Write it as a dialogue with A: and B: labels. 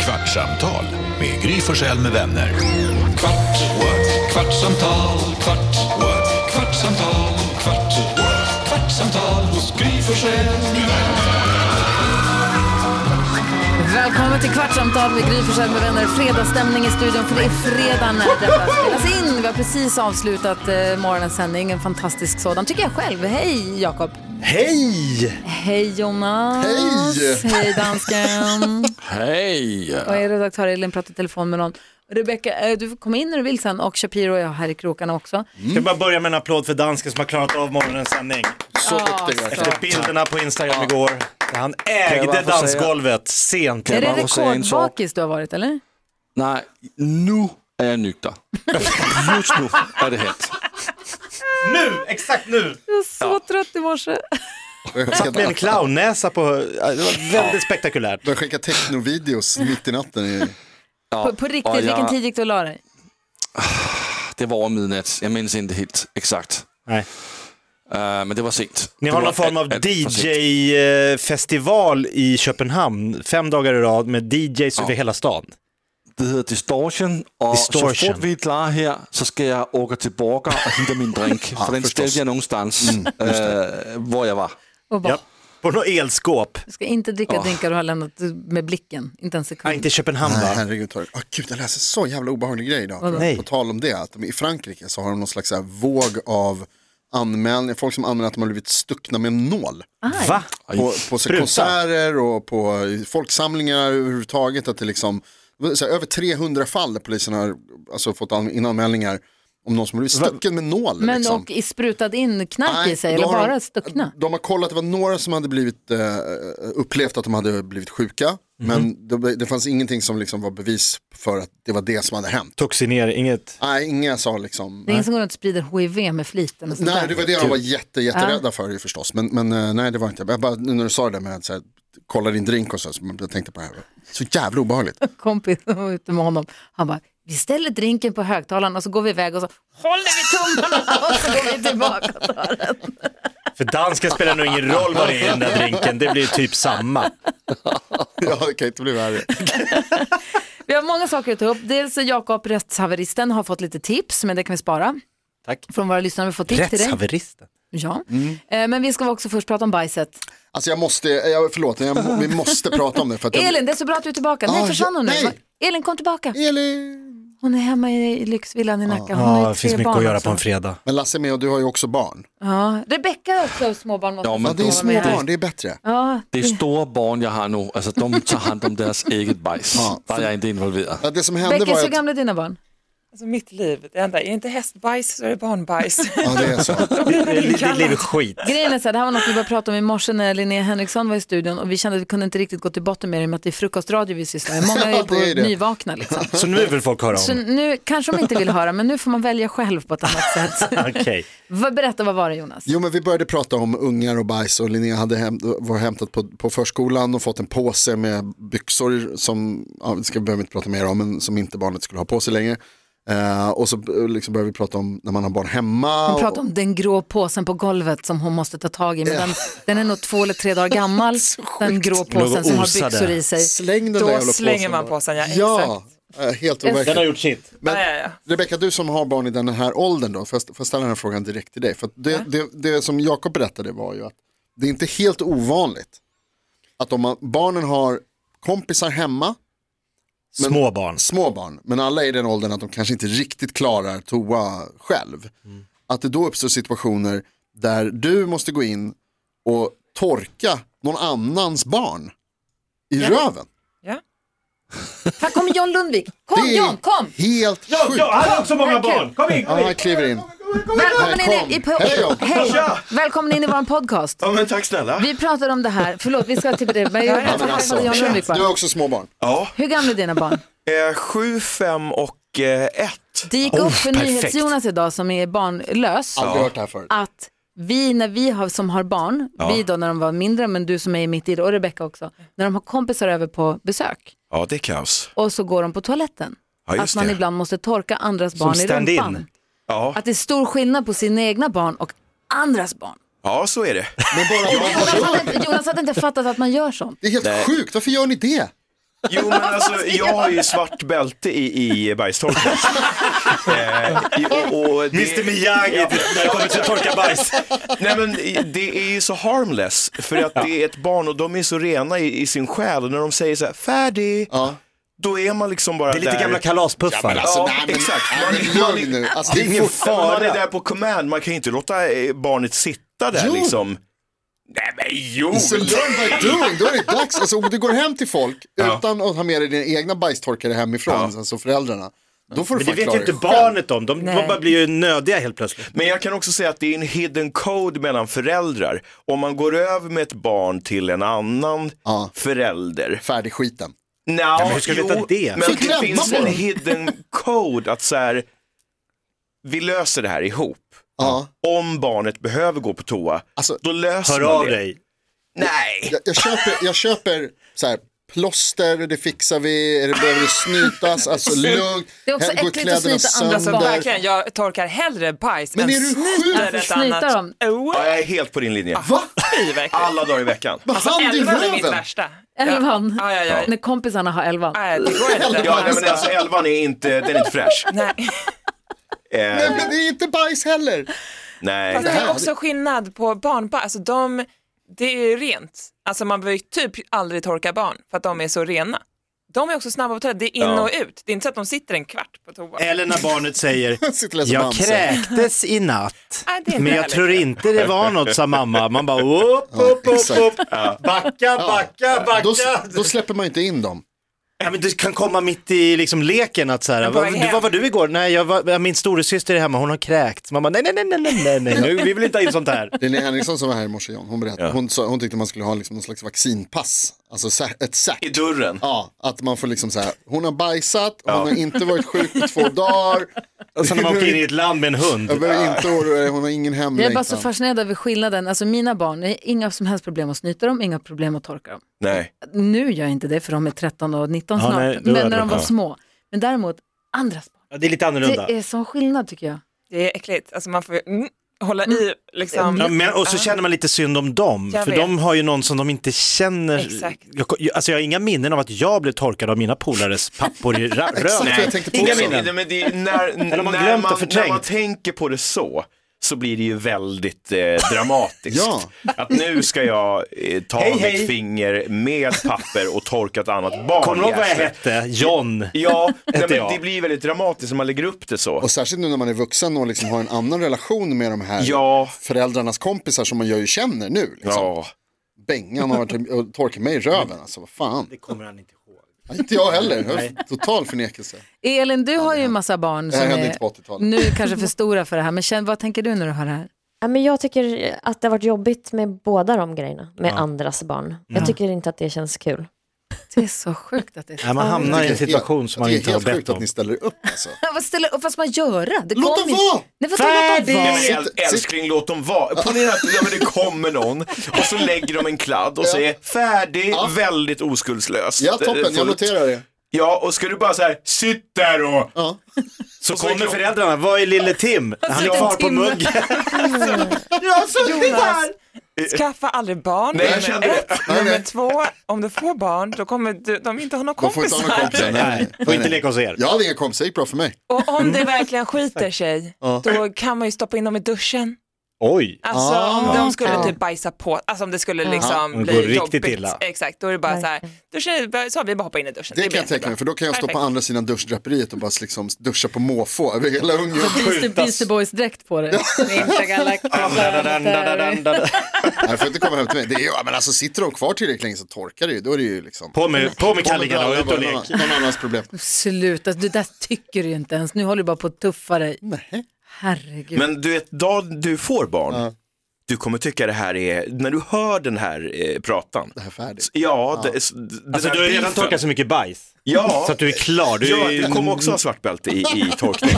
A: Kvartsamtal med Gry Forssell med vänner. Kvart, what? kvartsamtal, kvart, what? kvartsamtal, kvart, what? kvartsamtal hos Gry Forssell med vänner.
B: Välkommen till Kvartsamtal med Gry Forssell med vänner. Fredagsstämning i studion, för det är fredag när detta spelas in. Vi har precis avslutat eh, morgonens sändning, en fantastisk sådan tycker jag själv. Hej Jakob!
C: Hej!
B: Hej Jonas! Hej! Hej dansken!
D: Hej!
B: och er redaktör Elin pratar i telefon med någon. Rebecka, eh, du får komma in när du vill sen och Shapiro och jag här i krokarna också.
C: Ska vi bara börja med en applåd för dansken som har klarat av morgonens sändning.
D: Så duktig verkligen.
C: Efter bilderna på Instagram igår. där Han
D: Kan
C: ägde
D: jag bara få säga-
C: dansgolvet sent.
B: Är det
D: bara få säga en sak?
B: rekordbakis du har varit eller?
D: Nej, nu är jag nykter. Just nu är det helt.
C: Nu! Exakt nu!
B: Jag var så trött i morse.
E: Jag
C: Med en
E: skickar,
C: clownnäsa på... Det var väldigt spektakulärt.
E: de skickar technovideos mitt i natten. i-
D: Ja,
B: På, på riktigt,
D: och jag-
B: vilken tid gick du och la dig?
D: Det var över midnatt. Jag minns inte helt exakt.
C: Nej.
D: Eh, men det var sent.
C: Ni
D: det
C: har
D: var
C: någon form av
D: allt- allt för sent.
C: DJ-festival i Köpenhamn. Fem dagar i rad med DJs över hela stan.
D: Det heter Distortion. Och så
C: Distortion.
D: fort vi är klara här så ska jag åka tillbaka och hitta min drink. för den ställde jag någonstans
C: Mm,
D: eh, var jag var.
B: Och bara,
C: Ja. På något elskåp.
B: Du ska inte dricka drinkar du har lämnat med blicken, inte en sekund.
C: Nej, inte i Köpenhamn
E: Nej,
C: va?
E: herregud. tar- Ah, gud, jag läser så jävla obehaglig grej idag.
C: Nej.
E: På tal om det, att de, i Frankrike så har de någon slags så här våg av anmälningar, folk som anmäler att de har blivit stuckna med en nål.
B: Aj.
C: Va?
E: På, på så här
C: Spruta.
E: konserter och på eh, folksamlingar överhuvudtaget. Att det liksom, så här, över 300 fall där polisen har alltså, fått an, in anmälningar om någon som har blivit stucken med nål.
B: Men
E: liksom.
B: och i- sprutad in knark i
E: Nej,
B: sig
E: då
B: eller
E: har
B: bara
E: de-
B: stuckna?
E: De har kollat, det var några som hade blivit, eh, upplevt att de hade blivit sjuka.
B: Mhm.
E: Men det, det fanns ingenting som liksom var bevis för att det var det som hade hänt.
C: Toxinering, inget.
E: Nej, inga sa liksom.
B: Det är Typ. ingen som går runt och sprider HIV med fliten och sånt
E: Nej,
B: där.
E: det var det de var jätte, jätterädda för ju förstås. Men, men eh, nej, det var inte. Jag bara, nu när du sa det där med att så här, kolla din drink och så, så jag tänkte på det här. Så jävla obehagligt.
B: Kompis var ute med honom, han bara, vi ställer drinken på högtalaren och så går vi iväg och så håller vi tummarna och så går vi tillbaka och tar den.
C: För dansken spelar nog ingen roll vad det är i den där drinken. Det blir typ samma.
E: ja, det kan inte bli värre.
B: Vi har många saker att ta upp. Dels Jakob, rättshaveristen, har fått lite tips, men det kan vi spara.
C: Tack.
B: Från våra lyssnare, vi får tips till dig.
C: Rättshaveristen.
B: Ja. Eh, Men vi ska också först prata om bajset.
E: Alltså jag måste, jag, förlåt, jag, vi måste prata om det. För att jag,
B: Elin, det är så bra att du är tillbaka. Nej,
E: Ah,
B: försvann hon nu?
E: nej.
B: Va- Elin, kom tillbaka.
E: Elin!
B: Hon är hemma i lyxvillan i Nacka. Hon har
C: Ja,
B: ju
C: ah, det finns
B: tre
C: mycket
B: barn
C: att göra
B: också.
C: på en fredag.
E: Men Lasse är med och du har ju också barn.
B: Ja, Rebecka har också småbarn. Måste
D: Ja, men
E: Ja,
B: jag
E: det är
B: få
E: små
B: vara med här.
E: barn, det är bättre.
B: Ja,
D: Det är stora barn jag har nu. Alltså, de tar hand om deras eget bajs. Där är jag inte involverad.
E: Ja, det som hände
B: Becka,
E: var
B: så
E: ju att...
B: gamla är dina barn?
F: Alltså mitt liv, det enda, är det inte hästbajs så är det barnbajs.
E: Ja, det är så.
C: Ditt liv är skit.
B: Grejen är så här, det här var något vi började prata om i morse när Linnea Henriksson var i studion och vi kände att vi kunde inte riktigt gå till botten med det i och med att det är frukostradio vi sysslar med. Många är ju
E: Ja,
B: på
E: det är det.
B: nyvakna liksom.
C: Så nu vill folk höra
B: Så
C: om.
B: nu kanske de inte vill höra, men nu får man välja själv på ett annat sätt.
C: Okej.
B: Vad- Berätta, vad var det Jonas?
E: Jo, men vi började prata om ungar och bajs och Linnea hade häm var hämtat på, på förskolan och fått en påse med byxor som, ja, det ska vi behöver inte prata mer om, men som inte barnet skulle ha på sig längre. Eh, och så eh, liksom började vi prata om när man har barn hemma.
B: Hon
E: och-
B: pratade om den grå påsen på golvet som hon måste ta tag i. Men den, den är nog två eller tre dagar gammal, den grå påsen som har
C: osade.
B: byxor i sig.
E: Släng den
F: Då
E: där jävla
F: slänger
E: påsen
F: man
E: bara.
F: påsen, ja,
E: Ja, eh, helt
C: Den har
E: overkligt.
C: gjort sitt.
E: Men-
F: ja, ja, ja.
E: Rebecka, du som har barn i den här åldern då, får jag- får jag ställa den här frågan direkt till dig? För att det, det, det som Jakob berättade var ju att det är inte helt ovanligt att om man, barnen har kompisar hemma,
C: Små barn.
E: små barn, men alla är i den åldern att de kanske inte riktigt klarar toa själv.
F: Mm.
E: Att det då uppstår situationer där du måste gå in och torka någon annans barn i röven.
F: ja.
B: Här kommer John Lundvik. Kom
E: det är
B: John, kom!
E: helt sjukt.
C: han har också många barn. Kom in,
E: Ja, han kliver in.
B: Välkommen
E: Här,
B: in,
E: kom.
B: i, i,
E: Hej, John.
B: hej. Välkommen in i vår podcast.
G: Ja men tack snälla.
B: Vi pratar om det här, förlåt vi ska till det, men jag
F: Ja,
B: får
F: men
B: passa John Lundvik
E: alltså, Du har
B: bara.
E: också små barn.
G: Ja.
B: Hur gamla är dina barn?
G: Eh, sju, fem och eh, ett.
B: Det gick
C: Oh,
B: upp för
C: perfekt.
B: NyhetsJonas idag som är barnlös
E: Aldrig hört det här förut.
B: att vi när vi har, som har barn, vi då när de var mindre, men du som är mitt i det och Rebecca också, när de har kompisar över på besök
G: Ja det är kaos.
B: och så går de på toaletten.
G: Ja, just
B: att man
G: det.
B: ibland måste torka andras barn i
C: stand-in.
B: rumpan.
G: Ja,
B: Att det är stor skillnad på sina egna barn och andras barn.
G: ja så är det.
E: Men bara,
B: Jonas hade, inte- Jonas hade inte fattat att man gör sånt.
E: det är helt sjukt, varför gör ni det?
G: Jo men alltså jag har ju svart bälte i, i bajstorkning. eh, i- och, och det-
C: Mr Miyagi typ,
G: Ja.
C: när det kommer till att torka bajs.
G: Nej men det är ju så harmless för att det är ett barn och de är så rena i, i sin själ och när de säger så här färdig,
E: Ja.
G: då är man liksom bara
C: Det är lite
G: där.
C: gamla kalaspuffar.
E: Alltså,
G: ja,
E: nej, men-
G: exakt.
E: nej, men lugn nu. Alltså,
C: Det är ingen
E: fort-
G: Man
C: fara.
G: är där på command, man kan ju inte låta eh, barnet sitta där
E: Jo.
G: liksom. Nej men jo!
E: It's a learn by doing, då är det dags. Alltså, om du går hem till folk utan att ha med dig dina egna bajstorkare hemifrån, alltså föräldrarna, då får du
C: Men det vet
E: fan klara
C: ju
E: dig
C: inte
E: själv.
C: barnet om. De, de
F: Nej.
C: bara blir ju nödiga helt plötsligt.
G: Men jag kan också säga att det är en hidden code mellan föräldrar. Om man går över med ett barn till en annan
E: Ja.
G: förälder.
E: Färdig skiten.
G: No,
C: men hur ska vi veta det?
G: Men
E: Så
G: det
E: glömma
G: finns
E: på
G: en
E: dem.
G: hidden code att så här, vi löser det här ihop.
E: Ja.
G: Om barnet behöver gå på toa,
E: Alltså,
G: då löser
C: Hör
G: man
C: av
G: det.
C: dig.
G: Nej,
E: Jag, jag köper, jag köper så här, plåster, det fixar vi, eller behöver det snytas, alltså lugnt.
B: Det är också
E: Här går
B: äckligt att
E: kläderna
B: snyta andras
E: sönder.
B: barn.
F: Verkligen, jag torkar hellre bajs
E: Men
F: än
E: är du sjuk?
F: snyter ett
B: Varför snyter
F: annat.
B: de?
F: Oh,
G: ja, jag är helt på din linje.
E: Va?
F: fy, verkligen.
G: Alla dagar i veckan.
E: Vad hand i
F: Elvan Alltså, är mitt
E: röven?
F: värsta.
B: Elvan.
F: Ja, ja, ja.
B: När kompisarna har elvan.
F: Nej, det går inte.
G: Ja, nej, men alltså elvan är inte, den är inte fräsch.
F: Nej.
G: Eh,
E: Nej, men det är inte bajs heller.
G: nej.
F: Fast Alltså, det är också skillnad på barnbajs. Alltså de, det är ju rent. Alltså man behöver ju typ aldrig torka barn för att de är så rena. De är också snabba på toaletten, det är in
G: Ja.
F: och ut. Det är inte så att de sitter en kvart på toa.
C: Eller när barnet säger
E: Sitter och läser
C: Jag
E: Bamse.
C: kräktes i natt.
F: Nej, det är inte
C: Men jag
F: härligt.
C: tror inte det var något, sa mamma. Man bara upp, upp, upp,
E: exakt.
C: upp. Backa, backa,
E: Då,
C: backa.
E: då släpper man ju inte in dem.
C: Ja, men det kan komma mitt i liksom leken att så här,
F: Men på
C: vad,
F: väg
C: du,
F: hem.
C: vad var du igår? Nej, jag var, min storasyster är hemma, hon har kräkts. Man bara, nej, nej, nej, nej, nej, nej, nej, nu, vi vill inte ha in sånt här.
E: Linnea Henriksson som var här i morse, John, hon berättade, hon, sa, hon tyckte man skulle ha liksom någon slags vaccinpass, alltså sa- ett säck.
G: I dörren.
E: Ja, att man får liksom så här, hon har bajsat, hon har inte varit sjuk på två dagar,
C: Och sen när man åker in i ett land med en
E: jag
C: hund.
E: behöver inte oroa dig, hon har ingen
B: Jag är
E: hemlängtan.
B: bara så fascinerad över skillnaden. Alltså mina barn, det är inga som helst problem att snyta dem, inga problem att torka dem.
G: Nej.
B: Nu gör jag inte det för de är 13 och 19
C: Ja,
B: snart,
C: nej, då är
B: men när
C: det-
B: de var
C: ja.
B: små. Men däremot andras barn,
C: Ja, det är lite annorlunda.
B: det är sån skillnad tycker jag.
F: Det är äckligt. Alltså man får ju mm, hålla i liksom.
C: Ja, men, och så känner man lite synd om dem,
F: Jag
C: för
F: vet.
C: de har ju någon som de inte känner.
F: Exakt.
C: Jag, alltså jag har inga minnen av att jag blev torkad av mina polares pappor i ra-
E: Exakt vad
C: röven.
E: jag tänkte på
C: Inga
E: också.
C: minnen.
G: Nej, men det är när,
C: har man
G: när,
C: glömt och
G: man, när
C: förträngt?
G: man tänker på det så, så blir det ju väldigt eh, dramatiskt.
E: Ja.
G: Att nu ska jag eh, ta
C: Hej,
G: mitt
C: hej.
G: finger med papper och torka ett annat barn
C: Kommer du ihåg
G: i
C: vad jag
G: arslet?
C: hette? John.
G: Ja, nej, men
C: jag.
G: det blir väldigt dramatiskt när man lägger upp det så.
E: Och särskilt nu när man är vuxen och liksom har en annan relation med de här
G: Ja.
E: föräldrarnas kompisar som man ju känner nu. Liksom.
G: Ja.
E: Bengan har varit och torkat mig i röven, alltså vad fan.
C: Det kommer han inte ihåg.
E: Ja, Inte jag heller, Jag har total förnekelse.
B: Elin, du har ju en massa barn
E: Det här
B: som
E: hände
B: är
E: inte på 80-talet.
B: nu kanske för stora för det här, men känn, vad tänker du när du hör det här?
H: Ja, men jag tycker att det har varit jobbigt med båda de grejerna, med andras barn. Jag tycker inte att det känns kul.
B: Det är så sjukt att det är så.
C: Nej, man hamnar i en
E: Det är
C: situation
E: helt-
C: som man inte har
E: Det är helt
C: bett
E: sjukt att
C: om.
E: ni ställer upp alltså.
B: Vad, ställer, vad ska man göra? Det
E: Låt
B: kom
E: dem
B: ju-
E: vara!
B: Nej, vad ska låt dem
C: Färdigt!
B: vara?
G: Nej, men äl-
E: Sitt-
G: älskling, låt dem vara. Ponera att ja, men det kommer någon och så lägger de en kladd och säger färdig, väldigt oskuldslöst.
E: Ja, toppen, jag
G: Fullt.
E: noterar det.
G: Ja, och ska du bara så här, sitt där och...
E: Ja.
C: Så
G: Och så är
C: kommer
G: klockan-
C: föräldrarna, var är lille Tim? Han är
B: sitter
C: kvar på
B: Tim.
C: muggen.
F: Jonas,
E: Eh,
F: skaffa aldrig barn.
G: Nej, jag
F: nummer
G: kände
F: ett.
G: det.
E: Nej, nej.
F: Nummer två, om du får barn då kommer du, de inte ha några
E: De får inte ha några
F: kompisar.
E: kompisar. Nej, nej,
C: Får
E: nej,
C: inte
E: nej.
C: leka hos er.
E: Jag hade inga kompisar, det gick bra för mig.
F: Och om
E: Mm.
F: det verkligen skiter sig, då kan man ju stoppa in dem i duschen.
C: Oj.
F: Alltså
E: Ah,
F: om de skulle
E: ja.
F: typ bajsa på, alltså om det skulle liksom
C: Om det
F: bli
C: går riktigt
F: jobbigt.
C: illa.
F: Exakt, då är det bara så här, duschen, så har vi bara hoppa in i duschen.
E: Det kan
F: blir
E: jag tänka
F: jättebra.
E: mig, för då kan jag stå på
F: Perfekt.
E: andra sidan duschdraperiet och bara liksom duscha på måfå över hela Ungern.
B: Beastie, Beastie Boys-dräkt på dig.
E: Nej, får inte komma hem till mig. Det är, ju- ja, men alltså, sitter de kvar tillräckligt länge så torkar det ju. Då är det ju liksom...
C: På med, på med kallingarna och ut och lek.
E: Någon annan- någon annans problem.
B: Sluta, det där tycker du ju inte ens. Nu håller du bara på att tuffa dig.
E: Nej.
B: Herregud.
G: Men du vet, dag du får barn, du kommer tycka det här är, när du hör den här eh, pratan.
E: Det här är färdigt.
G: Ja, det, s- d- den
C: Alltså
G: här
C: du har redan
G: beefen.
C: torkat så mycket bajs.
G: Ja.
C: Så att du är klar. Du
G: ja,
C: är
G: du kommer också ha svart bälte i, i torkning.